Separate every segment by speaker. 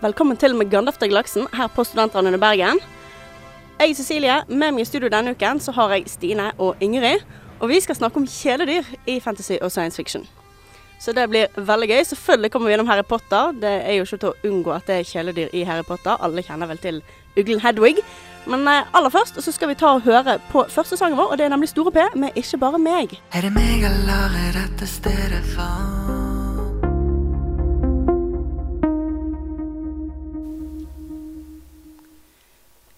Speaker 1: Velkommen til Megandaf til Glaksen her på Studentradioen i Bergen. Jeg er Cecilie. Med meg i studio denne uken så har jeg Stine og Ingrid. Og vi skal snakke om kjæledyr i fantasy og science fiction. Så det blir veldig gøy. Selvfølgelig kommer vi gjennom Harry Potter. Det er jo ikke til å unngå at det er kjæledyr i Harry Potter. Alle kjenner vel til uglen Hedwig. Men eh, aller først så skal vi ta og høre på første sangen vår, og det er nemlig Store P med Ikke bare meg.
Speaker 2: Er det meg eller er dette stedet for?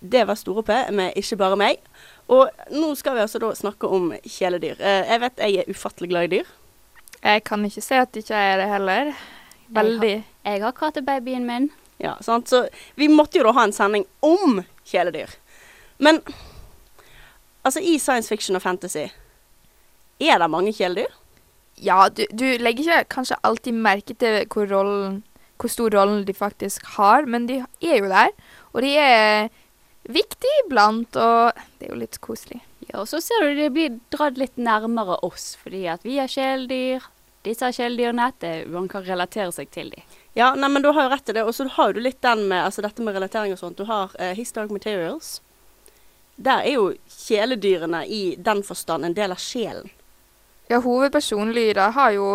Speaker 1: Det var Store P med Ikke bare meg. Og nå skal vi altså da snakke om kjæledyr. Eh, Jeg vet jeg er ufattelig glad i dyr.
Speaker 3: Jeg kan ikke se at ikke jeg er det heller. Veldig.
Speaker 4: Jeg har kattebabyen min.
Speaker 1: Ja, sant? Så vi måtte jo da ha en sending om kjæledyr. Men altså i science fiction og fantasy, er det mange kjæledyr?
Speaker 3: Ja, du, du legger ikke kanskje alltid merke til hvor, rollen, hvor stor rollen de faktisk har, men de er jo der. Og de er viktige iblant, og det er jo litt koselig.
Speaker 4: Ja, og så ser du de blir dratt litt nærmere oss, fordi at vi er kjæledyr. Disse er kjæledyrene. det- Man kan relatere seg til dem.
Speaker 1: Ja, nei, men du har jo rett til det. Og så har jo du litt den med altså dette med relatering og sånt. Du har eh, His Dark Materials. Der er jo kjæledyrene i den forstand en del av sjelen.
Speaker 3: Ja, hovedpersonlyder har jo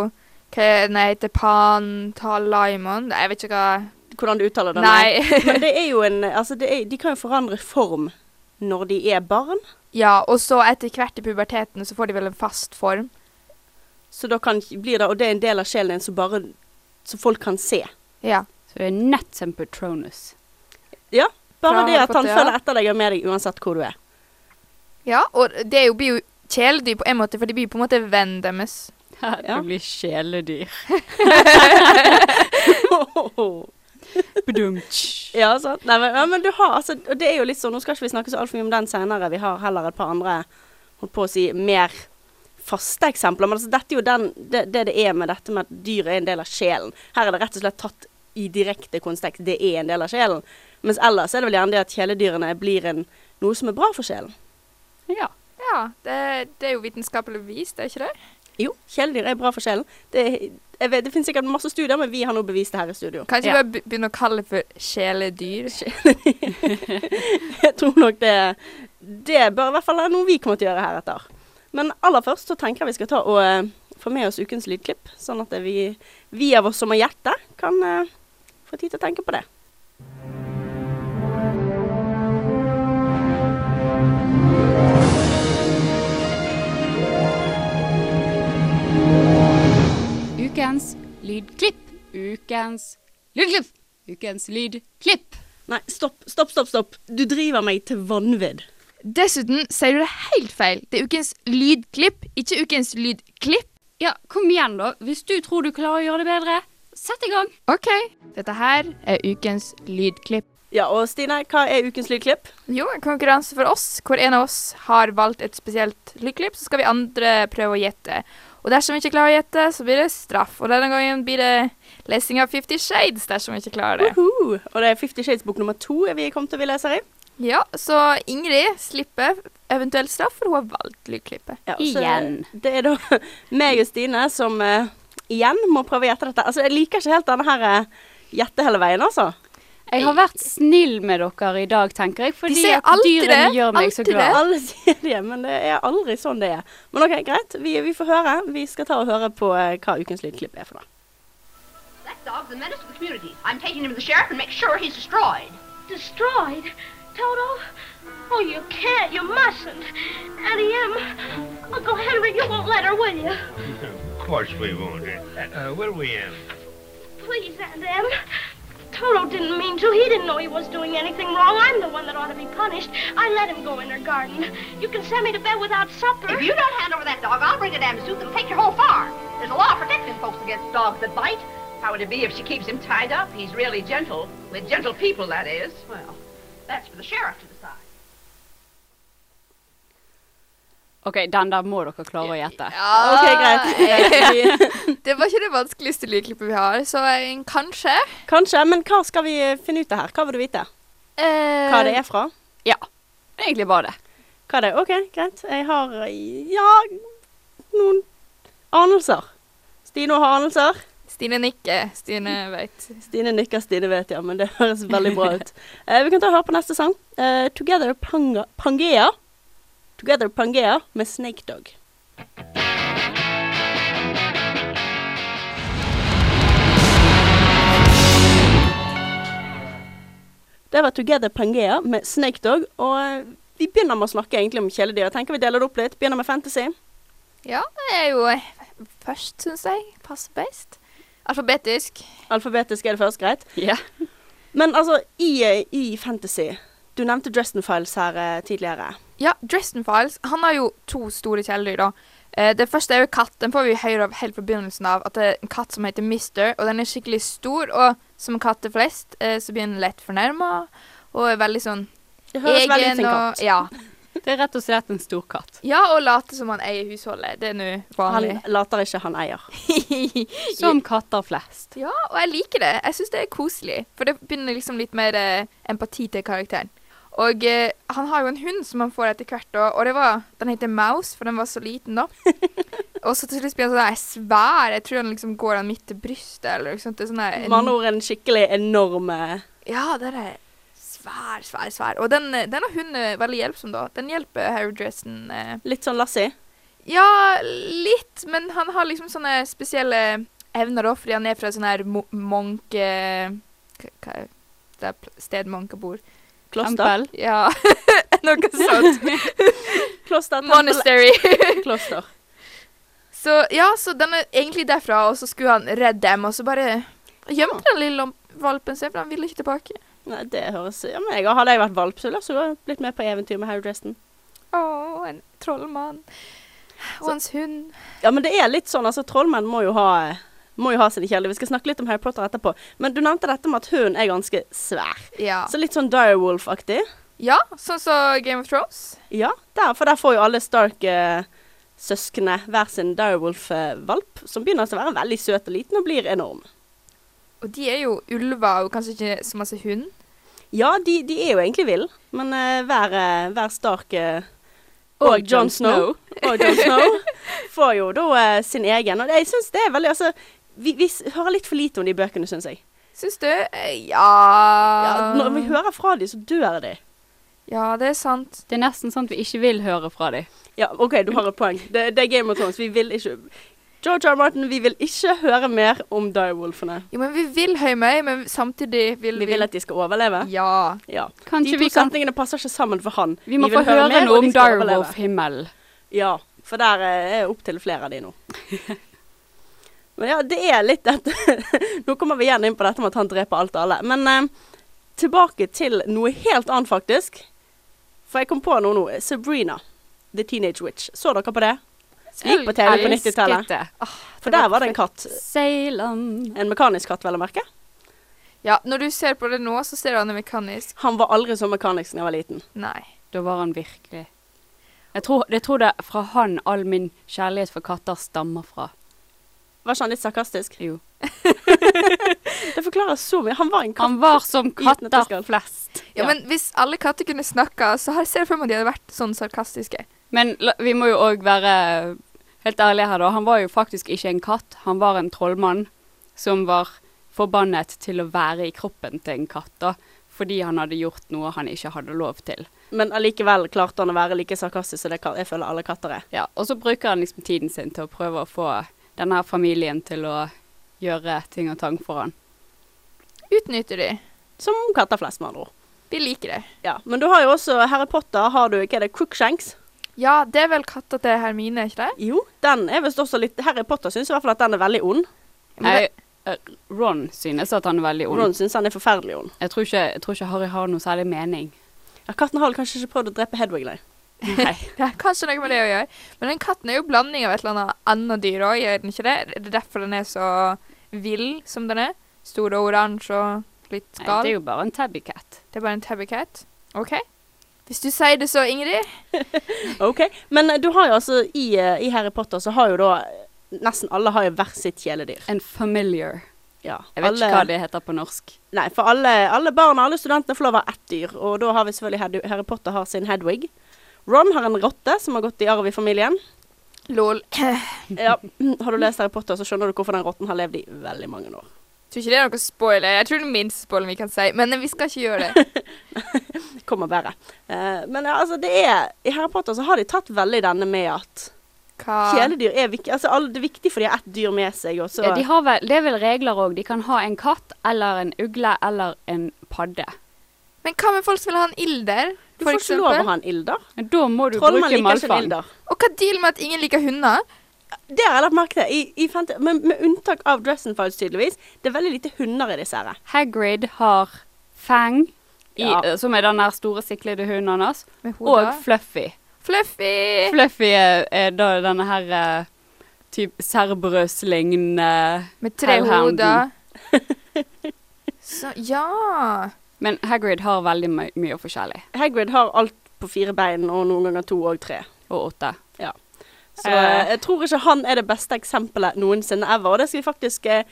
Speaker 3: hva er den heter, Pan, Tal, Laimon Jeg vet ikke hva
Speaker 1: Hvordan du uttaler det?
Speaker 3: Nei.
Speaker 1: Men det er jo en Altså, det er, de kan jo forandre form når de er barn.
Speaker 3: ja, og så etter hvert i puberteten så får de vel en fast form.
Speaker 1: Så da kan, blir det Og det er en del av sjelen din som bare Så folk kan se.
Speaker 3: Ja.
Speaker 4: Så det er nett som Patronus.
Speaker 1: Ja. Bare
Speaker 3: Fra
Speaker 1: det at han
Speaker 3: Potea.
Speaker 1: følger etter deg og er med deg uansett hvor du er.
Speaker 3: ja, og det er jo, blir jo kjæledyr på en måte, for de blir på en måte vennen deres.
Speaker 1: Ja.
Speaker 4: Det blir kjæledyr.
Speaker 1: ja, sant. Nei, men, ja, men du har altså Og det er jo litt sånn Nå skal ikke vi snakke så altfor mye om den senere. Vi har heller et par andre holdt på å si mer faste eksempler. Men altså, dette er jo den, det, det det er med dette med at dyret er en del av sjelen. Her er det rett og slett tatt i direkte kontekst. Det er en del av sjelen. Mens ellers er det vel gjerne det at kjæledyrene blir en, noe som er bra for sjelen.
Speaker 4: Ja.
Speaker 3: Ja, det, det er jo vitenskapelig vist, er ikke det?
Speaker 1: Jo, kjæledyr er bra for sjelen. Det, jeg vet, det finnes sikkert masse studier, men vi har nå bevist det her i studio.
Speaker 3: Kan ikke
Speaker 4: Ja.
Speaker 3: bare be- begynne å kalle det for kjæledyr?
Speaker 1: Jeg tror nok det, det bør i hvert fall være noe vi kommer til å gjøre heretter. Men aller først så tenker jeg vi skal ta og eh, få med oss ukens lydklipp, sånn at vi, vi av oss som har hjerte, kan eh, få tid til å tenke på det.
Speaker 4: Ukens lydklipp. Ukens lydklipp. Ukens lydklipp.
Speaker 1: Nei, stopp, stopp, stopp. stopp. Du driver meg til vanvidd.
Speaker 3: Dessuten sier du det helt feil. Det er ukens lydklipp, ikke ukens lydklipp.
Speaker 4: Ja, kom igjen, da. Hvis du tror du klarer å gjøre det bedre, sett i gang.
Speaker 3: OK. Dette her er ukens lydklipp.
Speaker 1: Ja, og Stine, hva er ukens lydklipp?
Speaker 3: Jo, en konkurranse for oss, hvor en av oss har valgt et spesielt lydklipp, så skal vi andre prøve å gjette. Og dersom vi ikke klarer å gjette, så blir det straff. Og denne gangen blir det lesing av Fifty Shades dersom vi ikke klarer det.
Speaker 1: Uhu. Og det er Fifty Shades bok nummer to vi kom til å bli leser i.
Speaker 3: Ja, så Ingrid slipper eventuelt straff, for hun har valgt lydklippet.
Speaker 1: Ja, så
Speaker 4: Igjen.
Speaker 1: Det er da meg og Stine som eh, igjen må prøve å gjette dette. Altså, jeg liker ikke helt denne her eh, gjette hele veien, altså.
Speaker 4: Jeg har vært snill med dere i dag, tenker jeg. Fordi
Speaker 3: sier
Speaker 4: at
Speaker 3: alltid
Speaker 4: dyrene
Speaker 3: det,
Speaker 4: gjør meg så
Speaker 3: alltid det.
Speaker 4: glad.
Speaker 1: Alle sier det, men det er aldri sånn det er. Men OK, greit. Vi, vi får høre. Vi skal ta og høre på eh, hva ukens lydklipp er for noe.
Speaker 5: That dog's a menace to the community. I'm taking him to the sheriff and make sure he's destroyed.
Speaker 6: Destroyed? Toto? Oh, you can't. You mustn't. Addie M, Uncle Henry, you won't let her, will you?
Speaker 7: Of course we won't. Uh, uh, where are we in?
Speaker 6: Please, Aunt Em. Toto didn't mean to. He didn't know he was doing anything wrong. I'm the one that ought to be punished. I let him go in her garden. You can send me to bed without supper.
Speaker 5: If you don't hand over that dog, I'll bring a damn suit and take your whole farm. There's a law protecting folks against dogs that bite. How would it be if she keeps him tied up? He's really gentle. With gentle people, that is. Well, that's for the sheriff to decide.
Speaker 4: OK, den der må dere klare å gjette.
Speaker 3: Ah,
Speaker 1: OK, greit. Eh, vi,
Speaker 3: Det var ikke det vanskeligste lydklippet vi har, så eh, kanskje.
Speaker 1: kanskje. Men hva skal vi finne ut av her? Hva vil du vite?
Speaker 3: Eh,
Speaker 1: Hva det er fra?
Speaker 4: Ja. Egentlig bare det.
Speaker 1: Hva det er? OK, greit. Jeg har eh, ja noen anelser. Stine har anelser.
Speaker 3: Stine nikker. Stine veit.
Speaker 1: Stine nikker, Stine vet, ja. Men det høres veldig bra ut. Eh, vi kan ta og høre på neste sang. Eh, 'Together Panga, Pangea'. 'Together Pangea' med Snake Dog. Det var 'Together Pangea' med Snake Dog. Og eh, vi begynner med å snakke egentlig om kjæledyr. Jeg tenker vi deler det opp litt. Begynner med fantasy.
Speaker 3: Ja, det er jo eh, først, syns jeg. Passer best. Alfabetisk.
Speaker 1: Alfabetisk er det først, greit.
Speaker 4: Ja.
Speaker 1: Men altså, i, eh, i fantasy Du nevnte Dresden Files her eh, tidligere.
Speaker 3: Ja, Dresden Files han har jo to store kjæledyr. da. Eh, det første er jo katt. Den får vi høre av helt fra begynnelsen av. At det er en katt som heter Mister, og den er skikkelig stor. Og som katter flest eh, så blir den lett fornærma og er veldig sånn
Speaker 1: Det høres veldig ut
Speaker 3: egen.
Speaker 1: som en
Speaker 3: Og,
Speaker 1: katt.
Speaker 3: ja.
Speaker 4: Det er rett og slett en stor katt.
Speaker 3: ja, og later som han eier husholdet. Det er nå
Speaker 1: Han
Speaker 3: vanlig.
Speaker 1: later ikke han eier.
Speaker 4: Som katter flest.
Speaker 3: Ja, og jeg liker det. Jeg syns det er koselig. For det begynner liksom litt mer eh, empati til karakteren. Og eh, han har jo en hund som han får etter hvert, og, og det var, den heter Mouse, for den var så liten da. og så til slutt blir han sånn der svær. Jeg tror han liksom går han midt til brystet, eller noe sånt. Det er sånn der,
Speaker 1: Med andre ord en skikkelig enorm eh,
Speaker 3: Ja, den er svær, svær, svær. Og den, eh, denne hunden er veldig hjelpsom, da. Den hjelper Harry Dresden. Eh,
Speaker 1: Litt sånn Lassie.
Speaker 3: ja, litt, men han har liksom sånne spesielle evner da, fordi han er fra sånn her mo monke... Hva hva er det er pl- sted monker bor?
Speaker 1: Kloster.
Speaker 3: Ja, noe sånt.
Speaker 1: Kloster, tempel,
Speaker 3: Monastery.
Speaker 1: kloster.
Speaker 3: så ja, så den er egentlig derfra, og så skulle han redde dem, og så bare gjemte den lille valpen seg, for han ville ikke tilbake.
Speaker 1: Nei, det høres ja, men jeg, Hadde jeg vært valp, så ville jeg også blitt med på eventyr med Harry Dresden.
Speaker 3: Åh, en trollmann. Og hans hund.
Speaker 1: Ja, men det er litt sånn, altså trollmenn må jo ha må jo ha sine kjæledyr. Vi skal snakke litt om Harry Potter etterpå. Men du nevnte dette med at hunden er ganske svær.
Speaker 3: Ja.
Speaker 1: Så litt sånn Direwolf-aktig.
Speaker 3: ja, sånn som Game of Thrones.
Speaker 1: Ja, der, for der får jo alle Stark-søsknene hver sin Direwolf-valp, som begynner altså å være veldig søt og liten og blir enorm.
Speaker 3: Og de er jo ulver, og kanskje ikke så masse hund.
Speaker 1: Ja, de, de er jo egentlig ville, men eh, hver, eh, hver Stark eh,
Speaker 4: Og
Speaker 1: og Jon
Speaker 4: Jon
Speaker 1: Snow, og Jon Snow får jo da eh, sin egen. Og det, jeg syns det er veldig Altså, vi, vi s- hører litt for lite om de bøkene, syns jeg.
Speaker 3: Syns du? Eh,
Speaker 1: Ja,
Speaker 3: Ja.
Speaker 1: når vi hører fra de, så dør de.
Speaker 3: Ja, det er sant.
Speaker 4: Det er nesten sånn at vi ikke vil høre fra dem.
Speaker 1: Ja, OK, du har et poeng. Det, det er Game of Thrones. Vi vil ikke George R. R. Martin, vi vil ikke høre mer om direwolfene.
Speaker 3: Jo, men vi vil Høymøy, men samtidig vil
Speaker 1: Vi vil at de skal overleve.
Speaker 3: Ja.
Speaker 1: Ja. de
Speaker 4: Kanskje
Speaker 1: to
Speaker 4: vi kan
Speaker 1: setningene passer ikke sammen for han.
Speaker 4: Vi må
Speaker 1: vil
Speaker 4: få høre,
Speaker 1: mer,
Speaker 4: noe
Speaker 1: og de
Speaker 4: om
Speaker 1: skal overleve.
Speaker 4: Direwolf-himmelen.
Speaker 1: Ja, for der eh, er opptil flere av de nå. Men ja, det er litt dette Nå kommer vi igjen inn på dette med at han dreper alt og alle. Men eh, tilbake til noe helt annet, faktisk. For jeg kom på noe nå. Sabrina, The Teenage Witch. Så dere på det? Gikk på TV på 90-tallet. For der var det en katt.
Speaker 4: Sail on.
Speaker 1: En mekanisk katt, vel å merke.
Speaker 3: ja. Når du ser på det nå, så ser du han er mekanisk.
Speaker 1: Han var aldri så mekanisk da jeg var liten.
Speaker 3: Nei.
Speaker 4: Da var han virkelig jeg tror, jeg tror det er fra han all min kjærlighet for katter stammer fra.
Speaker 1: Var ikke han litt sarkastisk?
Speaker 4: Jo.
Speaker 1: Det forklarer så mye. Han var en katt.
Speaker 4: Han var som
Speaker 1: Uten at det
Speaker 4: katter
Speaker 1: skal-
Speaker 4: flest.
Speaker 3: Ja,
Speaker 1: Ja.
Speaker 3: men hvis alle katter kunne snakka, så har jeg ser for meg at de hadde vært sånn sarkastiske.
Speaker 4: Men la- vi må jo òg være helt ærlige her, da. Han var jo faktisk ikke en katt, han var en trollmann som var forbannet til å være i kroppen til en katt, da. Fordi han hadde gjort noe han ikke hadde lov til.
Speaker 1: Men allikevel klarte han å være like sarkastisk som det ka- jeg føler alle katter er.
Speaker 4: Ja, og så bruker han liksom tiden sin til å prøve å få denne her familien til å gjøre ting og tang for han.
Speaker 3: Utnytter de.
Speaker 1: Som katter flest, med andre ord.
Speaker 3: Vi liker det.
Speaker 1: Ja, men du har jo også Harry Potter, har du ikke det, Crookshanks?
Speaker 3: Ja, det er vel katta til Hermine, ikke det?
Speaker 1: Jo, den er visst også litt Harry Potter syns i hvert fall at den er veldig ond.
Speaker 4: Nei, eh, Ron synes at han er veldig ond.
Speaker 1: Ron syns han er forferdelig ond.
Speaker 4: Jeg tror, ikke, jeg tror ikke Harry har noe særlig mening.
Speaker 1: Ja, Katten har vel kanskje ikke prøvd å drepe Hedwig, nei.
Speaker 4: Nei.
Speaker 3: Det er kanskje noe med det å gjøre. Men den katten er jo blanding av et eller annet annet dyr òg, gjør den ikke det? Det er derfor den er så vill som den er. Stor og oransje og litt
Speaker 4: Nei,
Speaker 3: gal.
Speaker 4: det er jo bare en tabbycat.
Speaker 3: Det er bare en tabby cat. OK. Hvis du sier det så, Ingrid.
Speaker 1: OK. Men eh, du har jo altså i, eh, I Harry Potter så har jo da eh, Nesten alle har jo hvert sitt kjæledyr.
Speaker 4: En familiar.
Speaker 1: Ja.
Speaker 4: Jeg vet
Speaker 1: alle,
Speaker 4: ikke hva det heter på norsk.
Speaker 1: Nei, for alle, alle barna alle studentene får lov av ett dyr, og da har vi selvfølgelig Hed Harry Potter har sin Hedwig. Ron har en rotte som har gått i arv i familien.
Speaker 3: Lol.
Speaker 1: Ja, Har du lest Harry Potter, så skjønner du hvorfor den rotten har levd i veldig mange år.
Speaker 3: Tror ikke det er noe spoiler. Jeg tror det er minst spoiler vi kan si, men vi skal ikke gjøre det.
Speaker 1: Det kommer bare. Eh, men ja, altså, det er I Harry Potter så har de tatt veldig denne med at
Speaker 3: Hva?
Speaker 1: kjæledyr er viktig. Altså, alle, det er viktig for de har ett dyr med seg, og så
Speaker 4: Ja, de har vel, det er vel regler òg. De kan ha en katt eller en ugle eller en padde.
Speaker 3: Men hva med folk som vil ha en ilder?
Speaker 1: Du
Speaker 3: for
Speaker 1: får ikke lov å
Speaker 3: eksempel?
Speaker 1: ha en ilder.
Speaker 4: Men Da må du
Speaker 1: Trollmann
Speaker 4: bruke
Speaker 1: liker ikke en
Speaker 4: malfang.
Speaker 1: ilder.
Speaker 3: Og hva deal med at ingen liker hunder?
Speaker 1: Det har jeg lagt merke til. I, i fant- men med unntak av Dressenfiles, tydeligvis. Det er veldig lite hunder i disse her.
Speaker 4: Hagrid har Fang, i,
Speaker 1: Ja.
Speaker 4: eh, som er den der store siklede hunden hans,
Speaker 3: Med hodet.
Speaker 4: og Fluffy.
Speaker 3: Fluffy!
Speaker 4: Fluffy er, er da denne her eh, typ Cerberus-lignende
Speaker 3: med tre
Speaker 4: Hellhound.
Speaker 3: hoder. Så ja.
Speaker 4: Men Hagrid har veldig my mye forskjellig.
Speaker 1: Hagrid har alt på fire bein, og noen ganger to og tre.
Speaker 4: Og åtte.
Speaker 1: Så
Speaker 4: Eh.
Speaker 1: eh, jeg tror ikke han er det beste eksempelet noensinne ever. Og det skal vi faktisk eh,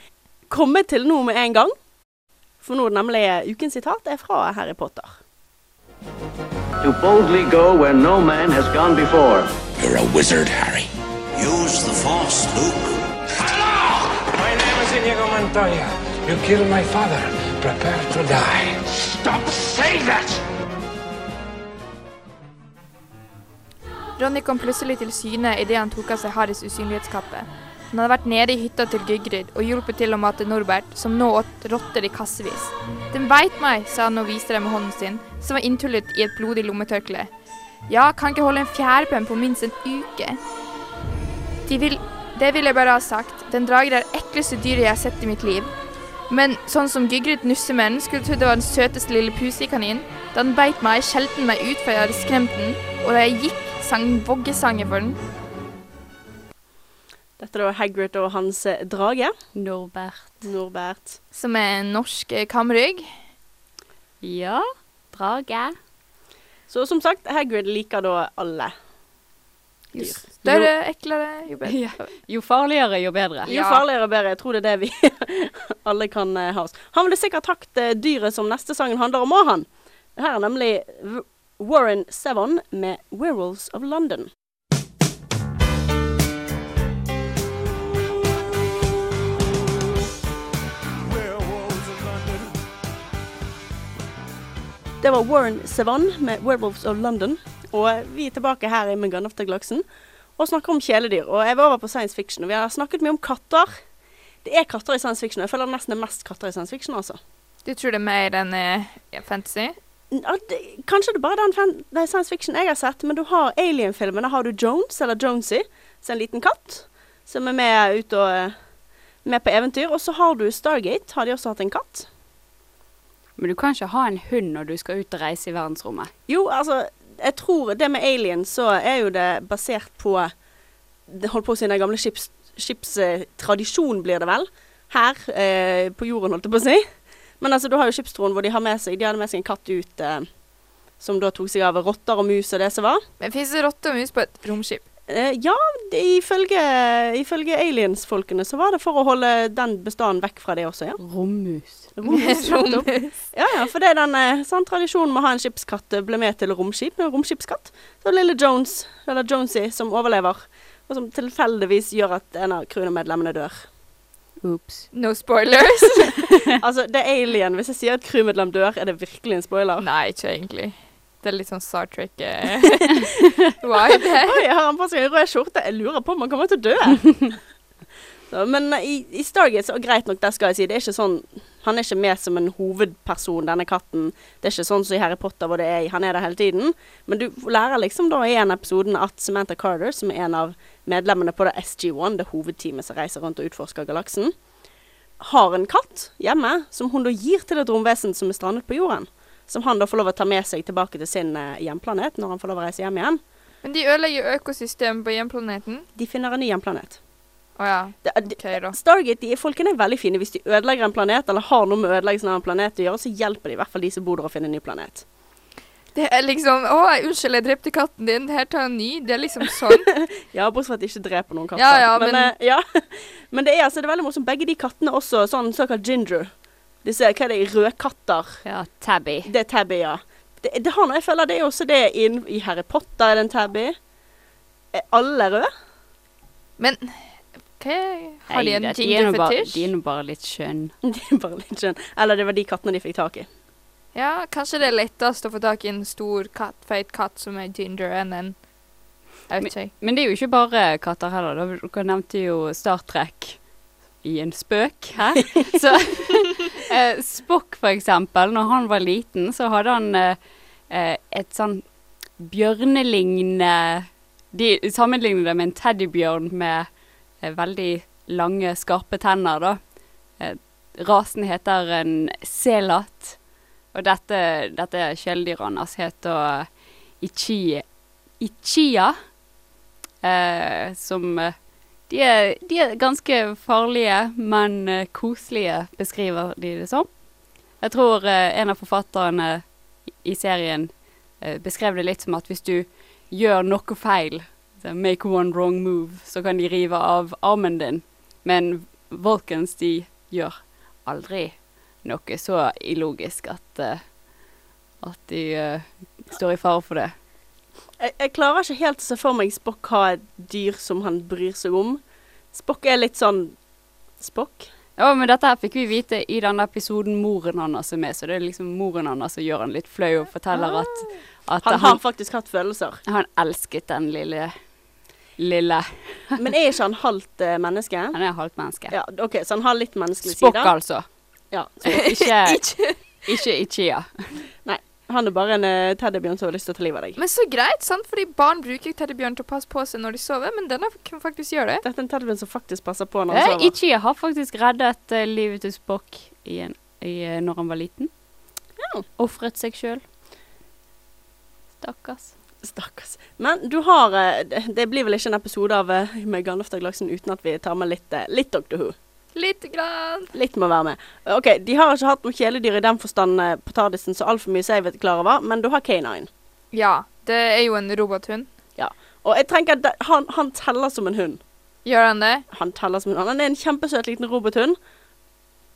Speaker 1: komme til nå med en gang. For nå er det nemlig eh, ukens sitat er fra Harry Potter.
Speaker 8: to boldly go where no man has gone before.
Speaker 9: You're a wizard, Harry. Use the force, Luke.
Speaker 10: My name is Inigo Montoya. You killed my father. Prepare to die. Stop saying that!
Speaker 3: Ronny kom plutselig til syne idet han tok av seg Harrys usynlighetskappe. Han hadde vært nede i hytta til Gygrid og hjulpet til å mate Norbert, som nå åt rotter i kassevis. Den veit meg, sa han og viste dem med hånden sin, som var inntullet i et blodig lommetørkle. Ja, kan ikke holde en fjærpenn på minst en uke. De vil, det vil jeg bare ha sagt, den dragen er det ekleste dyret jeg har sett i mitt liv. Men sånn som Gygrid nusser med den, skulle tro det var den søteste lille pusekanin. Da den beit meg, skjelte den meg ut før jeg hadde skremt den, og da jeg gikk, sang den voggesanger for den.
Speaker 1: Dette er da Hagrid og hans eh, drage,
Speaker 4: Norbert.
Speaker 1: Norbert.
Speaker 3: Som er en norsk eh, kamrygg.
Speaker 4: Ja. Drage.
Speaker 1: Så som sagt, Hagrid liker da alle.
Speaker 3: Jo
Speaker 1: Dyr.
Speaker 3: større, eklere, jo bedre.
Speaker 4: Ja. Jo farligere, jo bedre.
Speaker 1: Jo farligere, bedre. Jeg tror det er det vi alle kan eh, ha oss. Han ville sikkert takt eh, dyret som neste sangen handler om, og han. Her er nemlig V- Warren Sevon med 'Werewolves of London'. Det var Warren Sevon med 'Werewolves of London'. Og vi er tilbake her i Med Gun of the Glaksen og snakker om kjæledyr. Og jeg var over på science fiction, og vi har snakket mye om katter. Det er katter i science fiction, og jeg føler det nesten er mest katter i science fiction, altså.
Speaker 3: Du tror det er mer enn eh, ja, fantasy?
Speaker 1: Ja, det- Kanskje det er bare den fan- nei, science fiction jeg har sett, men du har Alien-filmene. Har du Jones, eller Jonesy, som er en liten katt, som er med ut og eh, med på eventyr. Og så har du Stargate, har de også hatt en katt.
Speaker 4: Men du kan ikke ha en hund når du skal ut og reise i verdensrommet.
Speaker 1: Jo, altså, jeg tror det med Alien, så er jo det basert på det Holdt på å si den gamle skips- skipstradisjonen, blir det vel. Her eh, på jorden, holdt jeg på å si. Men altså, du har jo skipstroen hvor de har med seg De hadde med seg en katt ut eh, som da tok seg av rotter og mus og det som var.
Speaker 3: Men fins det rotte og mus på et romskip?
Speaker 1: Eh, ja, det- ifølge, ifølge aliens-folkene så var det for å holde den bestanden vekk fra det også, ja.
Speaker 4: Rommus.
Speaker 1: Nettopp. Ja, ja, for det er den eh, sånn tradisjonen med å ha en skipskatt eh, ble med til romskip. En romskipskatt. Så lille Jones, eller Jonesy, som overlever. Og som tilfeldigvis gjør at en av crewmedlemmene dør.
Speaker 4: Ops.
Speaker 3: No spoilers.
Speaker 1: Altså, det er alien. Hvis jeg sier at crewmedlem dør, er det virkelig en spoiler.
Speaker 3: Nei, ikke egentlig. Det er litt sånn Star Trek eh, vibe her.
Speaker 1: Oi, har han på seg en rød skjorte? Jeg lurer på om han kommer til å dø. Så, men eh, i, i Stargate så greit nok, der skal jeg si. Det er ikke sånn Han er ikke med som en hovedperson, denne katten. Det er ikke sånn som i Harry Potter hvor det er, han er der hele tiden. Men du lærer liksom da i en av episoden at Samantha Carter, som er en av medlemmene på det SG-1, det hovedteamet som reiser rundt og utforsker galaksen, har en katt hjemme som hun da gir til et romvesen som er strandet på jorden. Som han da får lov å ta med seg tilbake til sin eh, hjemplanet når han får lov å reise hjem igjen.
Speaker 3: Men de ødelegger jo økosystemet på hjemplaneten.
Speaker 1: De finner en ny hjemplanet.
Speaker 3: Å ja.
Speaker 1: Det- det-
Speaker 3: OK, da.
Speaker 1: Stargate de, folkene er veldig fine. Hvis de ødelegger en planet, eller har noe med ødeleggelsen av en planet å gjøre, så hjelper de i hvert fall de som bor der, å finne en ny planet.
Speaker 3: Det er liksom Å, unnskyld, jeg drepte katten din. Her tar jeg en ny. Det er liksom sånn.
Speaker 1: Ja, bortsett fra at de ikke dreper noen katter.
Speaker 3: Ja, ja, men-
Speaker 1: eh, ja. men det er altså det er veldig morsomt. Begge de kattene også sånn såkalt ginger. Disse, hva er det, rødkatter?
Speaker 4: Ja, Tabby.
Speaker 1: Det er tabby, ja. Det, det har noe, jeg føler det er også det inn, i Harry Potter, er det en tabby. Er alle røde?
Speaker 3: Men hva, har de en
Speaker 4: Nei, er nå bare- De er
Speaker 3: gingerfetisj?
Speaker 4: nå bare litt skjønne.
Speaker 1: Det er bare litt skjønn. Eller det var de kattene de fikk tak i.
Speaker 3: Ja, kanskje det er lettest å få tak i en stor katt, feit katt som er ginger, enn en Jeg vet ikke.
Speaker 4: Men det er jo ikke bare katter heller. da. Dere nevnte jo Star Trek i en spøk her. Så eh, Spock, for eksempel, når han var liten, så hadde han eh, eh, et sånn bjørnelignende De sammenligner det med en teddybjørn med eh, veldig lange, skarpe tenner, da. Eh, rasen heter en selat. Og dette, dette kjæledyret hans heter eh, ichi, ichia. Eh, som eh, de er, de er ganske farlige, men eh, koselige, beskriver de det som. Jeg tror eh, en av forfatterne i serien eh, beskrev det litt som at hvis du gjør noe feil, så make one wrong move, så kan de rive av armen din. Men Vulcans, de gjør aldri noe så illogisk at, eh, at de eh, står i fare for det.
Speaker 1: Jeg, jeg klarer ikke helt å se for meg Spock har et dyr som han bryr seg om. Spock er litt sånn Spock?
Speaker 4: Ja, men dette her fikk vi vite i denne episoden moren hans er med, så det er liksom moren hans som gjør han litt flau og forteller at, at
Speaker 1: Ah. Han har
Speaker 4: han,
Speaker 1: faktisk hatt følelser.
Speaker 4: han elsket den lille lille
Speaker 1: Men er ikke han halvt eh, menneske?
Speaker 4: Han er halvt menneske.
Speaker 1: Ja, OK, så han har litt menneskelige
Speaker 4: Spokk,
Speaker 1: sider.
Speaker 4: altså.
Speaker 1: Ja.
Speaker 4: Så ikke Ikke Ichia.
Speaker 1: Nei, han er bare en eh, teddybjørn som har lyst til å ta livet av deg.
Speaker 3: Men så greit, sant? Fordi barn bruker teddybjørn til å passe på seg når de sover, men denne kan faktisk gjøre det.
Speaker 1: Dette er en teddybjørn som faktisk passer på når han
Speaker 4: Eh,
Speaker 1: sover.
Speaker 4: Ichia har faktisk reddet eh, livet til Spock i en, i, eh, når han var liten.
Speaker 1: Ja.
Speaker 4: Ofret seg sjøl. Stakkars.
Speaker 1: Stakkars. Men du har eh, Det det blir vel ikke en episode av eh, med Gandalf Daglaksen uten at vi tar med litt, eh, litt Doctor Who.
Speaker 3: Lite grann.
Speaker 1: Litt må være med. OK, de har ikke hatt noe kjæledyr i den forstand eh, på Tardisen, så altfor mye som jeg vet klar over, men du har K9.
Speaker 3: Ja, det er jo en robothund.
Speaker 1: Og jeg tenker at det- han, han teller som en hund.
Speaker 3: Gjør han det?
Speaker 1: Han teller som en hund. Han er en kjempesøt liten robothund.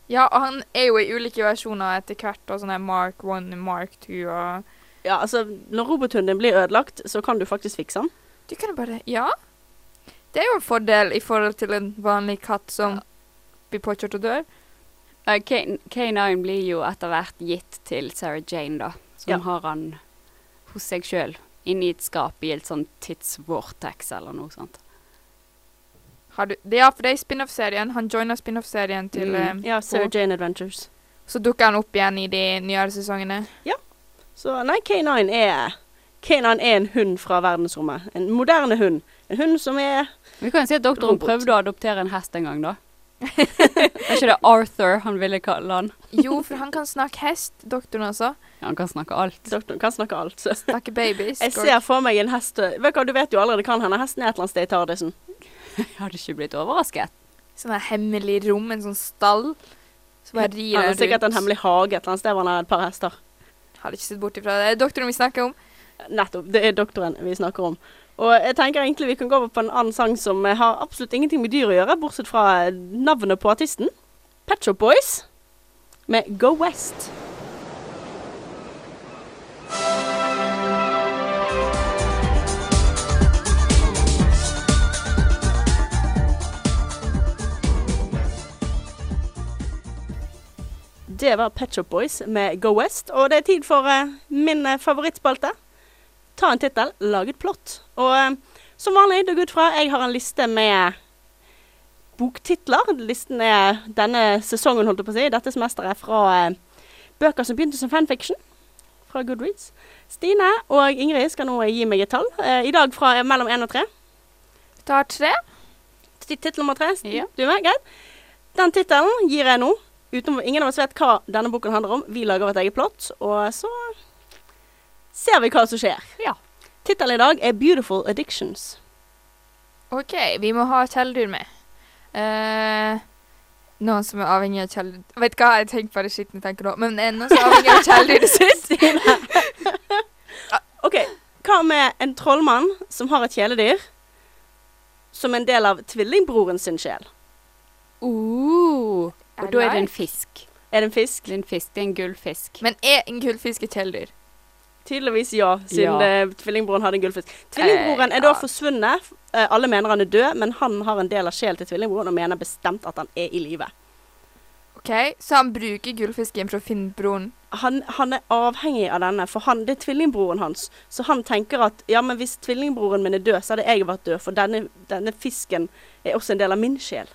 Speaker 3: Ja, og han er jo i ulike versjoner etter hvert, og sånn her Mark 1 og Mark 2 og
Speaker 1: Ja, altså, når robothunden din blir ødelagt, så kan du faktisk fikse den.
Speaker 3: Du kan jo bare Ja. Det er jo en fordel i forhold til en vanlig katt som blir påkjørt og dør.
Speaker 4: Eh, K- K9 blir jo etter hvert gitt til Sarah Jane, da. Som
Speaker 1: Ja.
Speaker 4: har han hos seg sjøl. Inni et skap i et sånn tidsvortex eller noe sånt.
Speaker 3: Har du Ja, for det er i spin-off-serien. Han joiner spin-off-serien til
Speaker 4: Mm.
Speaker 3: eh,
Speaker 1: Ja, Sarah
Speaker 3: Sarah
Speaker 1: Jane Adventures.
Speaker 3: Så dukker han opp igjen i de nyere sesongene.
Speaker 1: Så nei, K9 er K9 er en hund fra verdensrommet. En moderne hund. En hund som er
Speaker 4: Vi kan jo si at doktoren
Speaker 1: Robot.
Speaker 4: prøvde å adoptere en hest en gang, da. er ikke det Arthur han ville kalle han?
Speaker 3: Jo, for han kan snakke hest, doktoren altså.
Speaker 4: Ja, han kan snakke alt.
Speaker 1: Doktoren kan snakke alt. Så.
Speaker 3: Snakke babies.
Speaker 1: Jeg
Speaker 3: går-
Speaker 1: ser for meg en hest eh, Vet du hva, du vet jo allerede hva han hender. Hesten er et eller annet sted i Tardisen.
Speaker 4: Jeg hadde ikke blitt overrasket.
Speaker 3: Sånn her hemmelig rom, en sånn stall. Så bare rir
Speaker 1: Han
Speaker 3: han
Speaker 1: har sikkert en
Speaker 3: rundt.
Speaker 1: hemmelig hage et eller annet sted hvor han har et par hester.
Speaker 3: Hadde ikke sett bort ifra det. Det er doktoren vi snakker om.
Speaker 1: Nettopp. Det er doktoren vi snakker om. Og jeg tenker egentlig vi kan gå over på en annen sang som eh, har absolutt ingenting med dyr å gjøre, bortsett fra eh, navnet på artisten. Pet Shop Boys med Go West. Det var Pet Shop Boys med Go West, og det er tid for eh, min eh, favorittspalte. Ta en tittel, lag et plott. Og eh, som vanlig, det går ut fra jeg har en liste med boktitler. Listen er denne sesongen, holdt jeg på å si. Dette semesteret er fra eh, bøker som begynte som fanfiction fra Goodreads. Stine og Ingrid skal nå gi meg et tall. Eh, I dag fra eh, mellom én og tre.
Speaker 3: Du har tre.
Speaker 1: Titt- Tittel nummer tre. Stine.
Speaker 4: Ja.
Speaker 1: Du er med? Greit. Den tittelen gir jeg nå. Utenom, ingen av oss vet hva denne boken handler om. Vi lager et eget plott, og så ser vi hva som skjer.
Speaker 4: Ja.
Speaker 1: Tittelen i dag er 'Beautiful Addictions'.
Speaker 3: OK, vi må ha kjæledyr med. Eh, noen som er avhengig av kjæledyr Vet hva, jeg tenker bare skitten jeg tenker nå, men eh, noen som er avhengig av kjæledyret sitt.
Speaker 1: OK, hva med en trollmann som har et kjæledyr som en del av tvillingbroren sin sjel?
Speaker 4: Uh, og da er det en fisk.
Speaker 1: Er det en fisk?
Speaker 4: Det er en fisk, det er en gullfisk.
Speaker 3: Men er en gullfisk et kjæledyr?
Speaker 1: Tydeligvis ja, siden
Speaker 4: Ja.
Speaker 1: eh, tvillingbroren hadde en gullfisk. Tvillingbroren er da forsvunnet. Eh, Alle mener han er død, men han har en del av sjelen til tvillingbroren og mener bestemt at han er i live.
Speaker 3: OK, så han bruker gullfisken for å finne broren.
Speaker 1: han, han er avhengig av denne, for han, det er tvillingbroren hans. Så han tenker at ja, men hvis tvillingbroren min er død, så hadde jeg vært død, for denne, denne fisken er også en del av min sjel.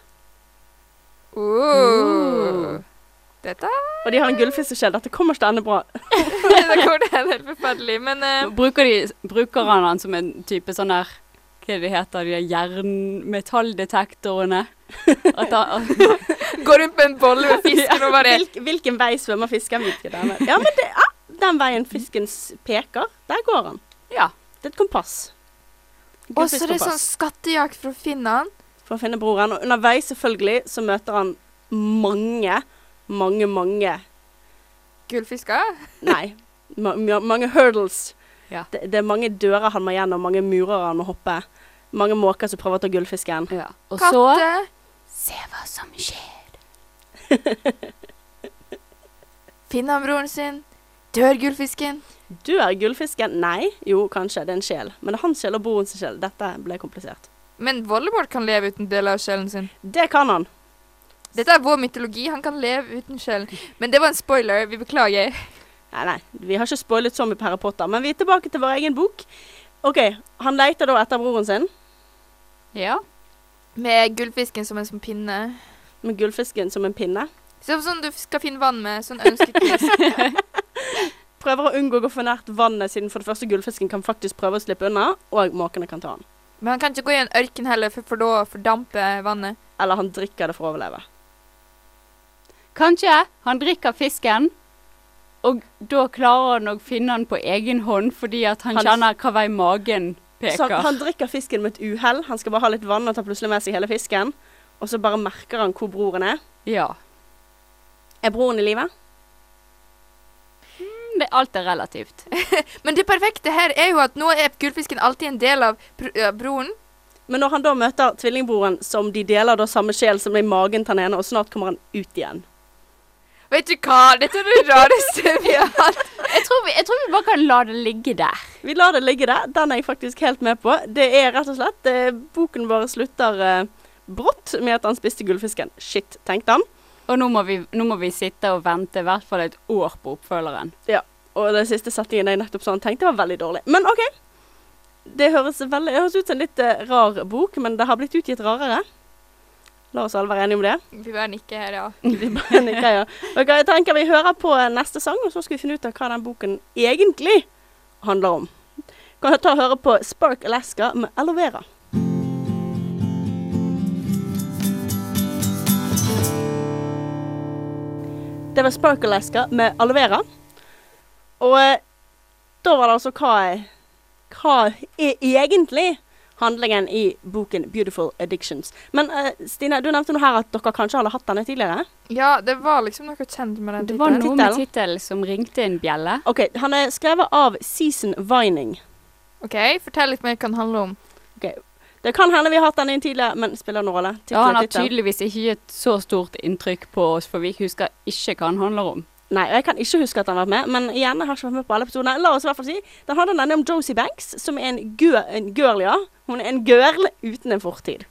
Speaker 3: Uh. Dette
Speaker 1: Og de har en gullfiskesjel. Dette kommer ikke til å ende bra.
Speaker 3: Da går det helt forferdelig, men eh,
Speaker 4: Bruker, de, bruker han han som en type sånn der Hva er det de heter de der jernmetalldetektorene? At han,
Speaker 3: går rundt med en bolle med fisken og bare
Speaker 1: Hvilk, hvilken vei svømmer fisken? Hvilken denne? Ja, men det, ja, den veien fisken s- peker, der går han.
Speaker 4: ja.
Speaker 1: Det er et kompass.
Speaker 3: Og så er det sånn
Speaker 1: Gullfiskkompass.
Speaker 3: skattejakt for å finne han.
Speaker 1: For å finne broren. Og underveis, selvfølgelig, så møter han mange, mange, mange
Speaker 3: Gullfisker?
Speaker 1: Nei. Ma ma- mange hurdles.
Speaker 4: Ja.
Speaker 1: Det, det er mange dører han må gjennom, mange murer han må hoppe. Mange måker som prøver å ta gullfisken.
Speaker 4: ja. Og så
Speaker 3: Katte?
Speaker 4: Se hva som skjer.
Speaker 3: Finner han broren sin? Dør gullfisken?
Speaker 1: Dør gullfisken? Nei, jo, kanskje. Det er en sjel. Men det er hans sjel og brorens sjel. Dette ble komplisert.
Speaker 3: Men Voldemort kan leve uten deler av sjelen sin.
Speaker 1: Det kan han.
Speaker 3: Dette er vår mytologi. Han kan leve uten sjelen. Men det var en spoiler. Vi beklager.
Speaker 1: Nei, nei, vi har ikke spoilet så mye på Harry Potter, men vi er tilbake til vår egen bok. OK, han leter da etter broren sin,
Speaker 4: Ja.
Speaker 3: Med gullfisken som en sånn pinne.
Speaker 1: med gullfisken som en pinne.
Speaker 3: Som sånn du skal finne vann med. Sånn ønsket fisk.
Speaker 1: Prøver å unngå å gå for nært vannet, siden for det første gullfisken kan faktisk prøve å slippe unna, og måkene kan ta han.
Speaker 3: Men han kan ikke gå i en ørken heller, for, for da fordamper vannet.
Speaker 1: Eller han drikker det for å overleve.
Speaker 4: Kanskje han drikker fisken, og da klarer han å finne han på egen hånd fordi at han,
Speaker 1: Han-
Speaker 4: kjenner hva vei magen
Speaker 1: Så
Speaker 4: peker.
Speaker 1: han, han drikker fisken med et uhell. Han skal bare ha litt vann og tar plutselig med seg hele fisken. Og så bare merker han hvor broren er.
Speaker 4: ja.
Speaker 1: Er broren i live?
Speaker 4: Det, alt er relativt.
Speaker 3: Men det perfekte her er jo at nå er gullfisken alltid en del av br ja, broren.
Speaker 1: Men når han da møter tvillingbroren, som de deler da samme sjel som er i magen til den ene, og snart kommer han ut igjen.
Speaker 3: Vet du hva? Dette er det rareste vi har hatt.
Speaker 4: Jeg tror, vi, jeg tror vi bare kan la det ligge der.
Speaker 1: Vi lar det ligge der. Den er jeg faktisk helt med på. Det er rett og slett eh, Boken vår slutter eh, brått med at han spiste gullfisken. Shit, tenkte han.
Speaker 4: Og nå må vi, nå må vi sitte og vente i hvert fall et år på oppfølgeren.
Speaker 1: Ja. Og den siste setningen jeg nettopp sa han tenkte var veldig dårlig. Men OK. Det høres, veldig, det høres ut som en litt eh, rar bok, men det har blitt utgitt rarere. La oss alle være enige om det.
Speaker 3: Vi bare nikker her, ja.
Speaker 1: Vi bare nikker, ja. Ok, jeg tenker Vi hører på eh, neste sang, og så skal vi finne ut av hva den boken egentlig handler om. Kan jeg ta og høre på Spark Alaska med Aloe Vera. Det var Spark Alaska med Aloe Vera. Og eh, da var det altså hva er, hva er egentlig handlingen i boken 'Beautiful Addictions'. Men eh, Stine, du nevnte nå her at dere kanskje hadde hatt denne tidligere.
Speaker 3: Ja, det var liksom noe kjent med den
Speaker 4: Det var
Speaker 3: tittelen.
Speaker 4: noe med tittelen som ringte en bjelle.
Speaker 1: OK, han er skrevet av Season Vining.
Speaker 3: OK, fortell litt mer hva den handler om.
Speaker 1: Det kan hende vi har hatt den inn tidligere, men spiller noen rolle. Tittel
Speaker 4: Ja, han
Speaker 1: og
Speaker 4: har
Speaker 1: tittel.
Speaker 4: tydeligvis ikke gitt så stort inntrykk på oss, for vi husker ikke hva han handler om.
Speaker 1: Nei, og jeg kan ikke huske at han har vært med, men igjen, jeg har ikke vært med på alle episodene. La oss i hvert fall si, den handler nemlig om Josie Banks, som er en, gø en girl, ja. Hun er en girl uten en fortid.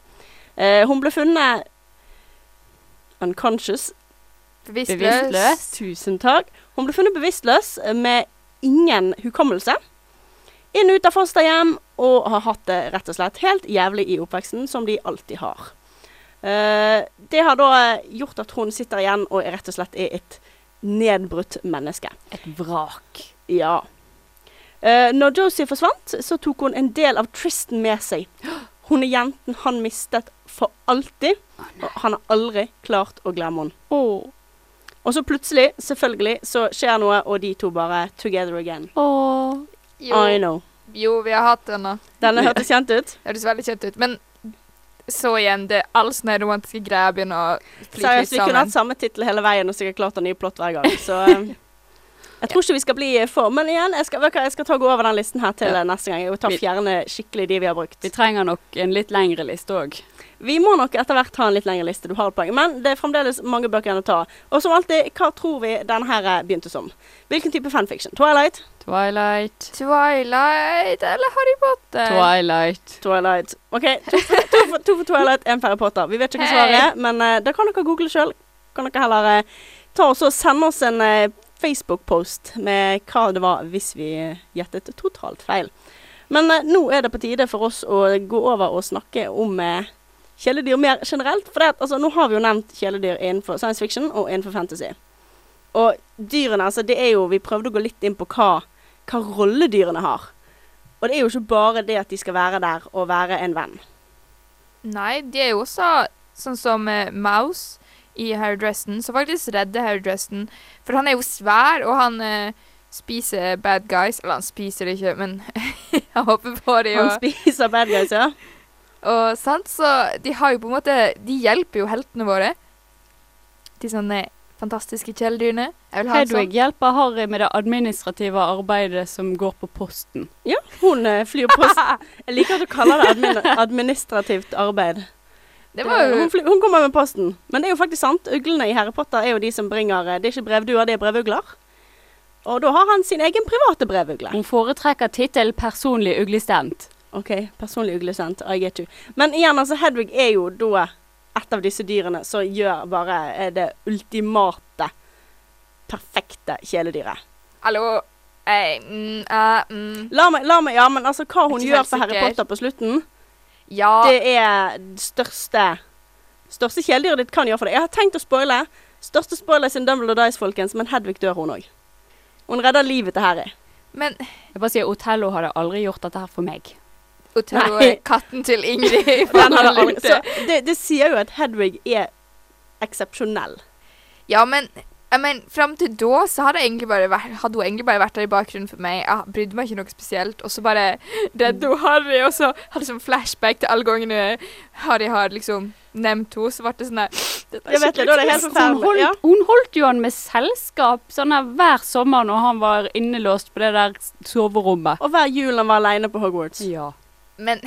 Speaker 1: Eh, hun ble funnet unconscious.
Speaker 3: Bevisstløs.
Speaker 4: Bevisstløs.
Speaker 1: Tusen takk. Hun ble funnet bevisstløs eh, med ingen hukommelse. Inn og ut av fosterhjem, og har hatt det rett og slett helt jævlig i oppveksten, som de alltid har. Eh, det har da eh, gjort at hun sitter igjen og er rett og slett er et nedbrutt menneske.
Speaker 4: Et vrak.
Speaker 1: Ja. Eh, når Josie forsvant, så tok hun en del av Tristan med seg. Hun er jenten han mistet for alltid, og han har aldri klart å glemme henne. Og så plutselig, selvfølgelig, så skjer noe, og de to bare together again.
Speaker 4: Åh.
Speaker 3: Jo,
Speaker 1: I know.
Speaker 3: jo, vi har hatt den. da.
Speaker 1: Denne hørtes kjent ut.
Speaker 3: Det høres veldig kjent ut. Men så igjen, det er all sånne romantiske greier begynner å flyte litt
Speaker 1: Seriøst, vi kunne
Speaker 3: sammen.
Speaker 1: hatt samme tittel hele veien og sikkert klart en ny plott hver gang. Så eh, jeg tror ikke vi skal bli for Men igjen, jeg skal, vet du hva, jeg skal ta og gå over den listen her til
Speaker 4: Ja.
Speaker 1: eh, neste gang. Jeg vil ta og
Speaker 4: Vi-
Speaker 1: fjerne skikkelig de vi har brukt.
Speaker 4: Vi trenger nok en litt lengre liste òg.
Speaker 1: Vi må nok etter hvert ha en litt lengre liste, du har et poeng. Men det er fremdeles mange bøker igjen å ta. Og som alltid, hva tror vi denne her begynte som? Hvilken type fanfiction? Twilight?
Speaker 4: Twilight.
Speaker 3: Twilight eller Harry Potter?
Speaker 4: Eh, Twilight.
Speaker 1: Twilight. OK, to for, to for, to for Twilight, én for Harry Potter. Vi vet ikke hva svaret er, men eh, da kan dere google sjøl. Kan dere heller eh, ta oss og sende oss en eh, Facebook-post med hva det var hvis vi gjettet totalt feil. Men eh, nå er det på tide for oss å gå over og snakke om eh, kjæledyr mer generelt. For det, at, altså, nå har vi jo nevnt kjæledyr innenfor science fiction og innenfor fantasy. Og dyrene, altså det er jo Vi prøvde å gå litt inn på hva, hva rolle dyrene har. Og det er jo ikke bare det at de skal være der og være en venn.
Speaker 3: Nei, de er jo også sånn som eh, Mouse i Harry Dresden, som faktisk redder Harry Dresden. For han er jo svær, og han eh, spiser bad guys. Eller han spiser det ikke, men han hopper på det.
Speaker 1: Han
Speaker 3: Og,
Speaker 1: spiser bad guys, ja.
Speaker 3: og sant, så de har jo på en måte De hjelper jo heltene våre. De sånne fantastiske kjæledyrene. Jeg vil ha en sånn-
Speaker 4: Hedwig hjelper Harry med det administrative arbeidet som går på posten.
Speaker 1: Ja, hun eh, flyr post. Jeg liker at du kaller det admin administrativt arbeid.
Speaker 3: sånn. Det var jo
Speaker 1: hun, fly, hun kommer med posten. Men det er jo faktisk sant. Uglene i Harry Potter er jo de som bringer eh, Det er ikke brevduer, det er brevugler. Og da har han sin egen private brevugle.
Speaker 4: Hun foretrekker tittelen 'personlig uglestemt'.
Speaker 1: OK, personlig uglesent. I get you. Men igjen, altså, Hedvig er jo da et av disse dyrene som gjør bare eh, det ultimate, perfekte kjæledyret.
Speaker 3: Hallo. Ei, mm, eh, mm.
Speaker 1: La meg, la meg, ja, men altså hva hun
Speaker 3: Jeg er ikke
Speaker 1: gjør
Speaker 3: helt
Speaker 1: for Harry
Speaker 3: sikker.
Speaker 1: Potter på slutten,
Speaker 3: Ja.
Speaker 1: det er det største Største kjæledyret ditt kan gjøre for deg. Jeg har tenkt å spoile. Største spoiler siden Dumbledore Dice, folkens, men Hedvig dør, hun òg. Hun redder livet til Harry.
Speaker 3: Men
Speaker 4: Jeg bare sier Otello hadde aldri gjort dette her for meg.
Speaker 3: Othello
Speaker 1: Nei.
Speaker 3: er eh, katten til Ingrid.
Speaker 1: Den hadde aldri,
Speaker 3: Lute.
Speaker 1: så det, det sier jo at Hedvig er eksepsjonell.
Speaker 3: Ja, men jeg men, fram til da så hadde, jeg egentlig bare vært, hadde hun egentlig bare vært der i bakgrunnen for meg. Jeg brydde meg ikke noe spesielt. Og så bare redde hun Harry, og så hadde jeg sånn flashback til alle gangene Harry har liksom nevnt henne. Så ble det sånn der Dette
Speaker 1: Jeg vet det, da er det helt
Speaker 3: trist.
Speaker 4: Hun holdt,
Speaker 1: forferdelig. Ja.
Speaker 4: hun holdt jo han med selskap sånn her hver sommer når han var innelåst på det der soverommet.
Speaker 1: Og hver jul han var aleine på Hogwarts.
Speaker 4: Ja.
Speaker 3: Men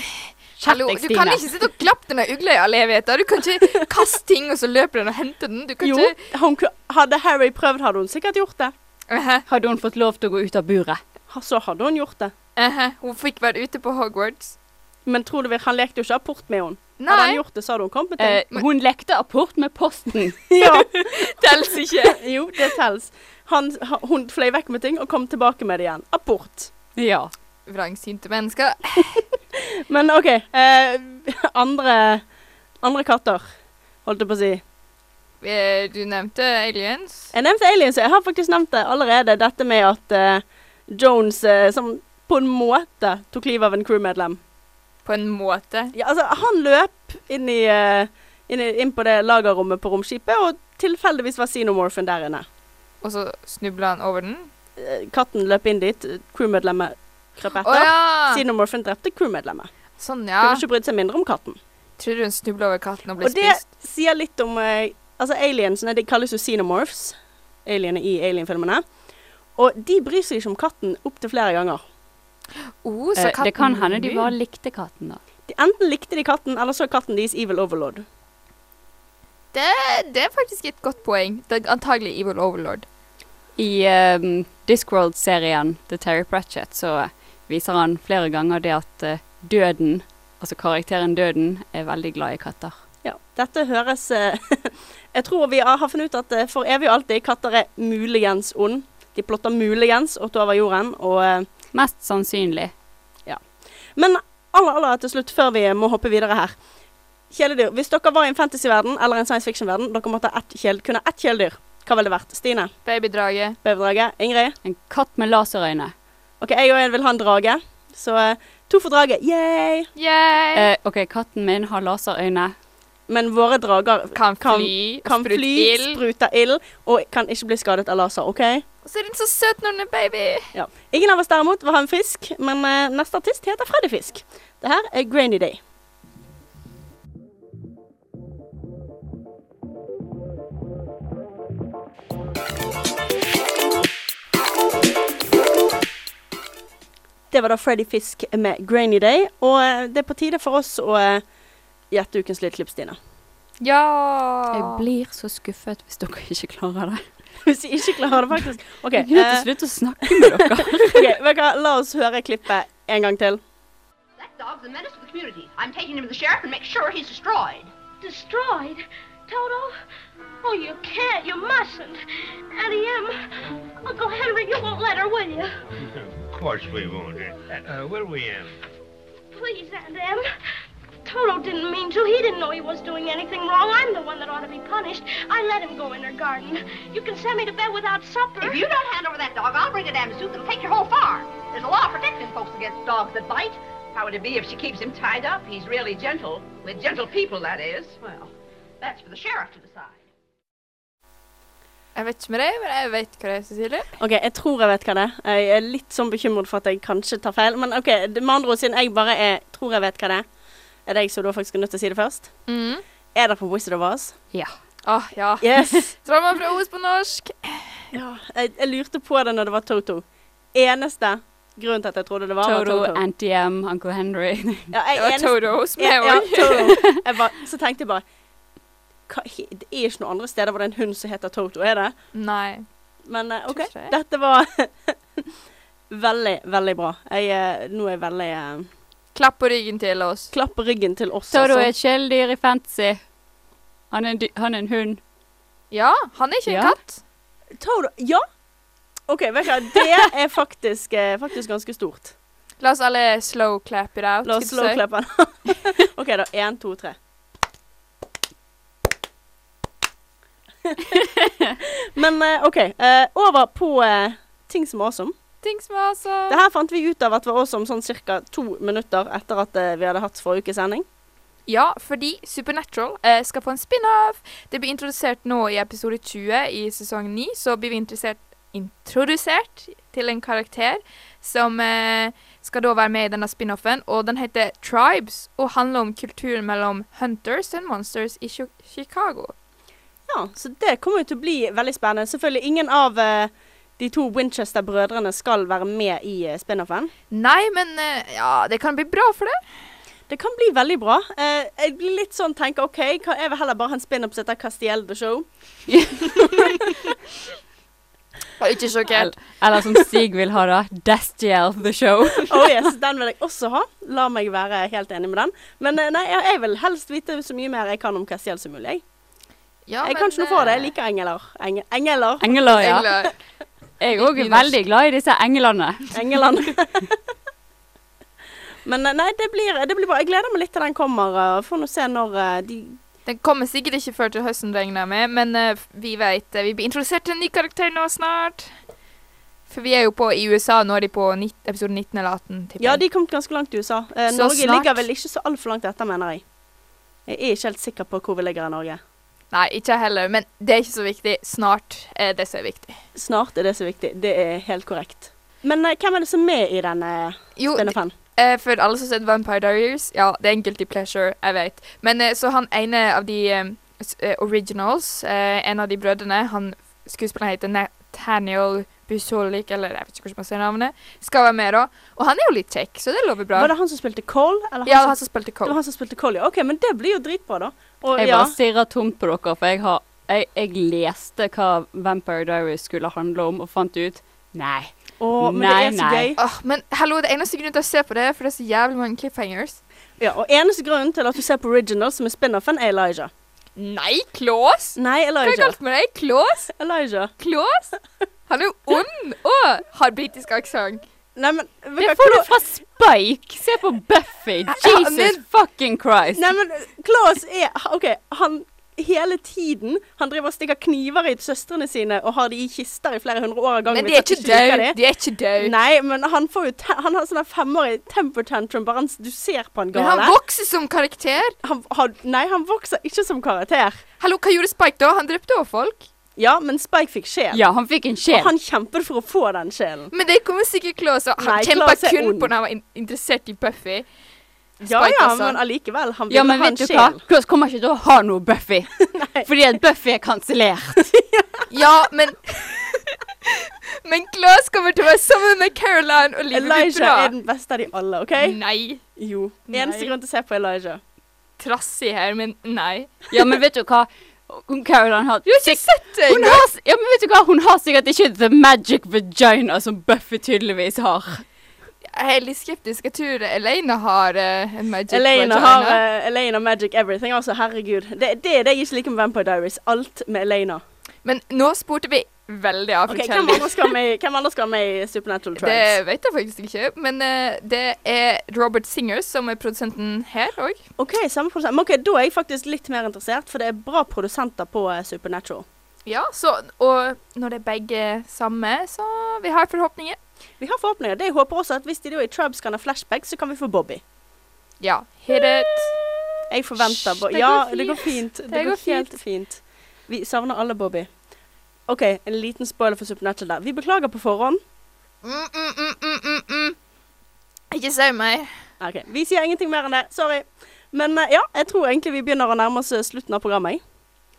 Speaker 3: hallo,
Speaker 4: Skjerp deg,
Speaker 3: du kan
Speaker 4: Stine.
Speaker 3: ikke sitte og klappe denne ugla i all evighet. da. Du kan ikke kaste ting, og så løper den og henter den. Du kan
Speaker 1: Jo,
Speaker 3: ikke
Speaker 1: hun, ku- hadde Harry prøvd, hadde hun sikkert gjort det.
Speaker 3: Eh,
Speaker 4: Hadde hun fått lov til å gå ut av buret?
Speaker 1: Ha- Så hadde hun gjort det.
Speaker 3: eh, Hun fikk være ute på Hogwarts.
Speaker 1: Men tror du virkelig- han lekte jo ikke apport med henne. Hadde han
Speaker 3: Nei,
Speaker 1: gjort det, så hadde hun kommet til.
Speaker 4: Eh, hun lekte apport med posten.
Speaker 1: Ja.
Speaker 3: tels ikke.
Speaker 1: Jo, det telles. Han, ha- hun fløy vekk med ting og kom tilbake med det igjen. Apport.
Speaker 4: Ja.
Speaker 3: Vrangsynte mennesker.
Speaker 1: Men OK. Eh, andre, andre katter, holdt jeg på å si.
Speaker 3: Eh, Du nevnte aliens.
Speaker 1: Jeg nevnte aliens, og jeg har faktisk nevnt det allerede. Dette med at eh, Jones eh, som på en måte tok livet av en crewmedlem.
Speaker 3: På en måte.
Speaker 1: Ja, altså, han løp inn, i, eh, inn, i, inn på det lagerrommet på romskipet, og tilfeldigvis var Xenomorphen der inne.
Speaker 3: Og så snubla han over den.
Speaker 1: Eh, Katten løp inn dit, crewmedlemmet krøp
Speaker 3: Å
Speaker 1: etter.
Speaker 3: ja!
Speaker 1: Xenomorphen drepte crewmedlemmet.
Speaker 3: Sånn,
Speaker 1: Kunne
Speaker 3: ja.
Speaker 1: ikke brydd seg mindre om katten.
Speaker 3: Tror du hun snubla over katten og ble
Speaker 1: Og det
Speaker 3: spist?
Speaker 1: sier litt om eh, Altså, aliensene de kalles jo xenomorphs, aliene i alien-filmene. Og de bryr seg ikke om katten opptil flere ganger.
Speaker 3: Oh, så
Speaker 4: Eh,
Speaker 3: katten
Speaker 4: det kan hende de
Speaker 3: lur.
Speaker 4: bare likte katten, da.
Speaker 1: De enten likte de katten, eller så er katten deres evil overlord.
Speaker 3: Eh, Det er faktisk et godt poeng. Det er antagelig Evil Overlord.
Speaker 4: I ehm, Discworld-serien til Terry Pratchett så viser han flere ganger det at eh, døden, altså karakteren døden, er veldig glad i katter.
Speaker 1: Ja, dette høres eh, Jeg tror vi har har funnet ut at eh, for evig og alltid katter er muligens ond. De plotter muligens åt over jorden, og eh,
Speaker 4: Mest sannsynlig.
Speaker 1: Men aller, aller til slutt, før vi må hoppe videre her. Kjæledyr. Hvis dere var i en fantasyverden eller en science fiction-verden, dere måtte ha ett kjæle, kunne ha ett kjæledyr. Hva ville det vært? Stine?
Speaker 3: Babydraget.
Speaker 1: Beverdrage? Ingrid?
Speaker 4: En katt med laserøyne.
Speaker 1: Ok, jeg og en vil ha en drage. Så eh, to for drage. Yay!
Speaker 3: Yay!
Speaker 4: Eh, OK, katten min har laserøyne.
Speaker 1: Men våre drager
Speaker 3: Kan
Speaker 1: kan-
Speaker 3: fly,
Speaker 1: kan
Speaker 3: sprute
Speaker 1: fly,
Speaker 3: ild.
Speaker 1: sprute ild og kan ikke bli skadet av laser. OK?
Speaker 3: Og så er den så søt når den er baby.
Speaker 1: Ja. Ingen av oss derimot vil ha en fisk, men eh, neste artist heter Freddy Fisk. Det her er Grainy Day. Det var da Freddy Fisk med Grainy Day, og eh, det er på tide for oss å eh, Gjett ukens lydklipp, Stine.
Speaker 3: Ja!
Speaker 4: Jeg blir så skuffet hvis dere ikke klarer det.
Speaker 1: Hvis jeg ikke klarer det, faktisk. OK.
Speaker 4: Jeg er nødt til å
Speaker 1: eh,
Speaker 4: slutte å snakke med dere.
Speaker 1: ok, vet du hva? La oss høre klippet en gang til.
Speaker 5: That dog's a menace to the community. I'm taking him to the sheriff and make sure he's destroyed.
Speaker 6: Destroyed? Toto? Oh, you can't. You mustn't. Addie M. Uncle Henry, you won't let her, will you?
Speaker 7: Of course we won't. Uh, where we am?
Speaker 6: Please, Aunt Em. Toto didn't mean to. He didn't know he was doing anything wrong. I'm the one that ought to be punished. I let him go in her garden. You can send me to bed without supper.
Speaker 5: If you don't hand over that dog, I'll bring a damn suit and take your whole farm. There's a law protecting folks against dogs that bite. How would it be if she keeps him tied up? He's really gentle. With gentle people, that is. Well, that's for the sheriff to decide.
Speaker 3: Jeg vet ikke med deg, men jeg vet hva det er, Cecilie.
Speaker 1: OK, jeg tror jeg vet hva det er. Jeg er litt sånn bekymret for at jeg kanskje tar feil. Men OK, det- med andre ord, siden jeg bare er, tror jeg vet hva det er, er det jeg som da faktisk er nødt til å si det først?
Speaker 3: Mm.
Speaker 1: Er det på Wizard of Oz?
Speaker 4: Ja.
Speaker 3: Ah, ja.
Speaker 1: Yes!
Speaker 3: Drama fra Os på norsk.
Speaker 1: ja, jeg, jeg lurte på det når det var Toto. Eneste grunn til at jeg trodde det var, var
Speaker 4: Toto,
Speaker 1: Toto.
Speaker 4: Anti-M, Uncle
Speaker 1: Ja,
Speaker 4: Henry.
Speaker 1: jeg,
Speaker 3: Det var
Speaker 1: eneste-
Speaker 3: Todos med
Speaker 1: ja,
Speaker 3: også.
Speaker 1: Toto. Jeg bare, så tenkte jeg bare hva, he- Det er ikke noen andre steder hvor det er en hund som heter Toto, er det?
Speaker 3: Nei.
Speaker 1: Men eh, OK,
Speaker 3: Tror ikke det.
Speaker 1: dette var veldig, veldig bra. Jeg, eh, nå er jeg veldig eh,
Speaker 3: Klapp på ryggen til oss.
Speaker 1: Klapp ryggen til oss,
Speaker 4: Toto er
Speaker 1: altså.
Speaker 4: et kjæledyr i fantasy. Han er en, dy- han er en hund.
Speaker 3: Ja, han er ikke en
Speaker 4: Ja.
Speaker 3: katt.
Speaker 1: Toto Ja! OK, vet du hva, det er faktisk, eh, faktisk ganske stort.
Speaker 3: La oss alle slow clap it out.
Speaker 1: La oss slå
Speaker 3: skal du si.
Speaker 1: klappen. OK, da. Én, to, tre. Men eh, OK. eh, over på eh, ting som er awesome.
Speaker 3: Ting som er altså-
Speaker 1: Det
Speaker 3: awesome.
Speaker 1: her fant vi ut av at det var awesome sånn ca. to minutter etter at eh, vi hadde hatt forrige ukes sending.
Speaker 3: Ja, fordi Supernatural eh, skal få en spin-off. Det blir introdusert nå i episode 20 i sesong 9. Så blir vi interessert, introdusert til en karakter som eh, skal da være med i denne spin-offen. Og den heter Tribes og handler om kulturen mellom hunters and monsters i Chi- Chicago.
Speaker 1: Ja, Så det kommer jo til å bli veldig spennende. Selvfølgelig ingen av eh, de to Winchester-brødrene skal være med i eh, spin-offen.
Speaker 3: Nei, men eh, ja, det kan bli bra for det.
Speaker 1: Det kan bli veldig bra. Eh, jeg blir litt sånn tenker OK, kan jeg vil heller bare ha en spin-off som heter Castiel the Show.
Speaker 3: Ikke sjokkert.
Speaker 4: Eller som Stig vil ha det, Destiel the Show.
Speaker 1: Oh yes, Den vil jeg også ha. La meg være helt enig med den. Men eh, nei, jeg jeg vil helst vite så mye mer jeg kan om Castiel som mulig. Jeg,
Speaker 3: Ja, eh,
Speaker 1: jeg kan ikke noe for det. Jeg liker engler. Engel, engler.
Speaker 4: Engler, ja.
Speaker 3: Engler.
Speaker 4: Jeg er også veldig glad i disse englene.
Speaker 1: England. Men eh, nei, det blir, det blir bra. Jeg gleder meg litt til den kommer. eh, Får nå se når eh, de
Speaker 3: Den kommer sikkert ikke før til høsten, regner jeg med, men eh, vi vet det. Vi blir introdusert til en ny karakter nå snart. For vi er jo på i USA, nå er de på nitt- episode 19 eller 18, tipper
Speaker 1: Ja,
Speaker 3: jeg.
Speaker 1: de kom ganske langt i USA. Eh,
Speaker 3: Så
Speaker 1: Norge
Speaker 3: snart.
Speaker 1: ligger vel ikke så altfor langt etter, mener jeg. Jeg er ikke helt sikker på hvor vi ligger i Norge.
Speaker 3: Nei, ikke jeg heller, men det er ikke så viktig. Snart er det som er viktig.
Speaker 1: Snart er det så viktig. Det er helt korrekt. Men eh, hvem er det som er med i denne
Speaker 3: Jo,
Speaker 1: spinnefanen?
Speaker 3: Eh, for alle som har sett Vampire Diaries, ja, det er en guilty pleasure, jeg vet. Men eh, så han ene av de eh, s- eh, originals, eh, en av de brødrene, han skuespilleren heter Nathaniel Busolik, eller jeg vet ikke hvordan man sier navnet, skal være med da. Og han er jo litt kjekk, så det lover bra.
Speaker 1: Var det han som spilte Cole? Eller
Speaker 3: Ja,
Speaker 1: han
Speaker 3: han
Speaker 1: som,
Speaker 3: som spilte
Speaker 1: det var
Speaker 3: Cole.
Speaker 1: han som spilte Cole, ja. OK, men det blir jo dritbra, da. Og,
Speaker 4: Jeg
Speaker 1: ja.
Speaker 4: bare stirrer tomt på dere, for jeg, har, jeg, jeg leste hva Vampire Diaries skulle handle om, og fant ut Nei.
Speaker 1: Å, men
Speaker 4: Nei,
Speaker 1: det er så
Speaker 4: nei.
Speaker 1: gøy.
Speaker 3: Åh, men hallo, det eneste grunnen til å se på det, er for det er så jævlig mange cliffhangers.
Speaker 1: Ja, og eneste grunnen til at du ser på Original, som er spin-offen, er Elijah.
Speaker 3: Nei, Klaus!
Speaker 1: Nei,
Speaker 3: Hva er
Speaker 1: Elijah.
Speaker 3: galt med deg? Klaus?
Speaker 1: Elijah.
Speaker 3: Klaus? Han er jo ond og har britisk aksent.
Speaker 1: Nei, men, vet
Speaker 4: Det
Speaker 1: hva,
Speaker 4: får du
Speaker 1: Kla-
Speaker 4: fra Spike! Se på Buffy! Jesus
Speaker 3: men-
Speaker 4: fucking Christ!
Speaker 1: Nei, men Klaus er OK, han hele tiden Han driver og stikker kniver i søstrene sine og har de i kister i flere hundre år av gangen.
Speaker 3: Men de
Speaker 1: hvis
Speaker 3: er
Speaker 1: at de
Speaker 3: ikke
Speaker 1: liker
Speaker 3: døde.
Speaker 1: de.
Speaker 3: De er ikke døde.
Speaker 1: Nei, men han får jo te Han har sånn der femårig temper tantrum bare han, du ser på han
Speaker 3: Men han
Speaker 1: gale.
Speaker 3: vokser som karakter.
Speaker 1: Han- han- nei, han vokser ikke som karakter.
Speaker 3: Hallo, hva gjorde Spike da? Han drepte også folk.
Speaker 1: Ja, men Spike fikk sjel.
Speaker 4: Ja, han fikk en
Speaker 1: Og
Speaker 4: sjel.
Speaker 1: han kjempet for å få den sjelen.
Speaker 3: Men det kommer sikkert Klaus og Han
Speaker 1: Nei,
Speaker 3: kjempa
Speaker 1: Klaus er
Speaker 3: kun
Speaker 1: ond.
Speaker 3: på når han var in interessert i Buffy.
Speaker 1: Ja,
Speaker 3: Spike,
Speaker 1: ja,
Speaker 3: altså.
Speaker 1: men allikevel. Han ville
Speaker 4: Ja, men
Speaker 1: ha en
Speaker 4: vet du
Speaker 1: sjel.
Speaker 4: hva? Klaus kommer ikke til å ha noe Buffy. Fordi at Buffy er kansellert.
Speaker 3: Ja, men Men Klaus kommer til å være sammen med Caroline og livet blir
Speaker 1: Elijah
Speaker 3: bra.
Speaker 1: er den beste av de alle, OK?
Speaker 3: Nei.
Speaker 1: Jo.
Speaker 3: Nei.
Speaker 1: Eneste grunn til å se på Elijah.
Speaker 3: trassig her, men nei.
Speaker 4: Ja, men vet du hva? Hun Caroline har
Speaker 3: Du har ikke sett det
Speaker 4: Hun
Speaker 3: engang!
Speaker 4: har, s- ja, men vet du hva? Hun har sikkert ikke the magic vagina som Buffy tydeligvis har.
Speaker 3: Jeg er litt skeptisk. Jeg tror Elena har eh, en magic
Speaker 1: Elena
Speaker 3: vagina.
Speaker 1: har eh, Elena Magic Everything. Altså, herregud. Det, det er det jeg ikke liker med Vampire Diaries. Alt med Elena.
Speaker 3: Men nå spurte vi veldig av
Speaker 1: Ok,
Speaker 3: okay,
Speaker 1: hvem andre skal med, i- hvem andre skal med i Supernatural
Speaker 3: Det
Speaker 1: Tribes?
Speaker 3: vet jeg faktisk ikke, men eh, det er Robert Singer som er produsenten her òg.
Speaker 1: OK, samme produsent. Men ok, da er jeg faktisk litt mer interessert, for det er bra produsenter på eh, Supernatural.
Speaker 3: Ja, så, og når det er begge samme, så vi har forhåpninger.
Speaker 1: Vi har forhåpninger. Det jeg håper også at hvis de da i Tribes kan ha flashback, så kan vi få Bobby.
Speaker 3: Ja. Hit it.
Speaker 1: Jeg forventer Bo-
Speaker 3: Hysj, det
Speaker 1: Ja,
Speaker 3: går
Speaker 1: det går fint.
Speaker 3: fint.
Speaker 1: Det,
Speaker 3: Det
Speaker 1: går,
Speaker 3: går
Speaker 1: helt fint. Vi savner alle Bobby. OK, en liten spoiler for Supernatural der. Vi beklager på forhånd.
Speaker 3: Mm, mm, mm, mm, mm, mm. Ikke si meg.
Speaker 1: Ok, Vi sier ingenting mer enn det. Sorry. Men eh, ja, jeg tror egentlig vi begynner å nærme oss eh, slutten av programmet. jeg.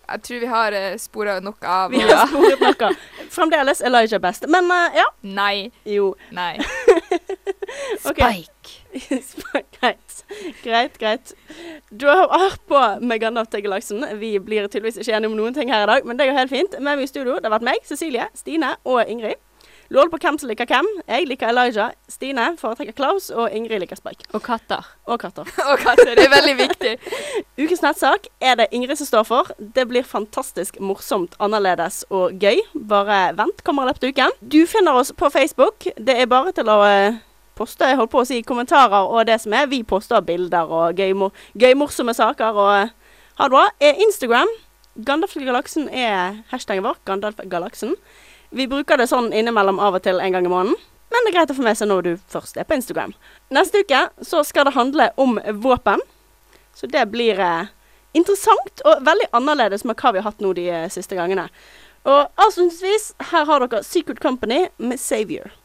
Speaker 3: Jeg tror vi har uh, spora nok av
Speaker 1: Vi har sporet noe. Fremdeles Elijah best. Men eh, ja.
Speaker 3: Nei.
Speaker 1: Jo.
Speaker 3: Nei.
Speaker 1: ok. greit. Greit, greit. Du har hørt på med Gandalf til galaksen. Vi blir tydeligvis ikke enige om noen ting her i dag, men det går helt fint. Med meg i studio det har vært meg, Cecilie, Stine og Ingrid. Lol på hvem som liker hvem. Jeg liker Elijah. Stine foretrekker Klaus, og Ingrid liker Spike.
Speaker 4: Og katter.
Speaker 1: Og katter.
Speaker 3: Og katter. Det er veldig viktig.
Speaker 1: Ukens nettsak er det Ingrid som står for. Det blir fantastisk morsomt, annerledes og gøy. Bare vent, kommer i løpet av uken. Du finner oss på Facebook. Det er bare til å eh, poste jeg holdt på å si, kommentarer og det som er. Vi poster bilder og gøy, mor- gøy morsomme saker. og eh, Ha det bra. Eh, Instagram. Gandalf til galaksen er hashtaggen vår. Gandalf galaksen. Vi bruker det sånn innimellom av og til en gang i måneden. Men det er greit å få med seg når du først er på Instagram. Neste uke så skal det handle om våpen. Så det blir eh, interessant og veldig annerledes med hva vi har hatt nå de eh, siste gangene. Og avslutningsvis, her har dere Secret Company med Savior.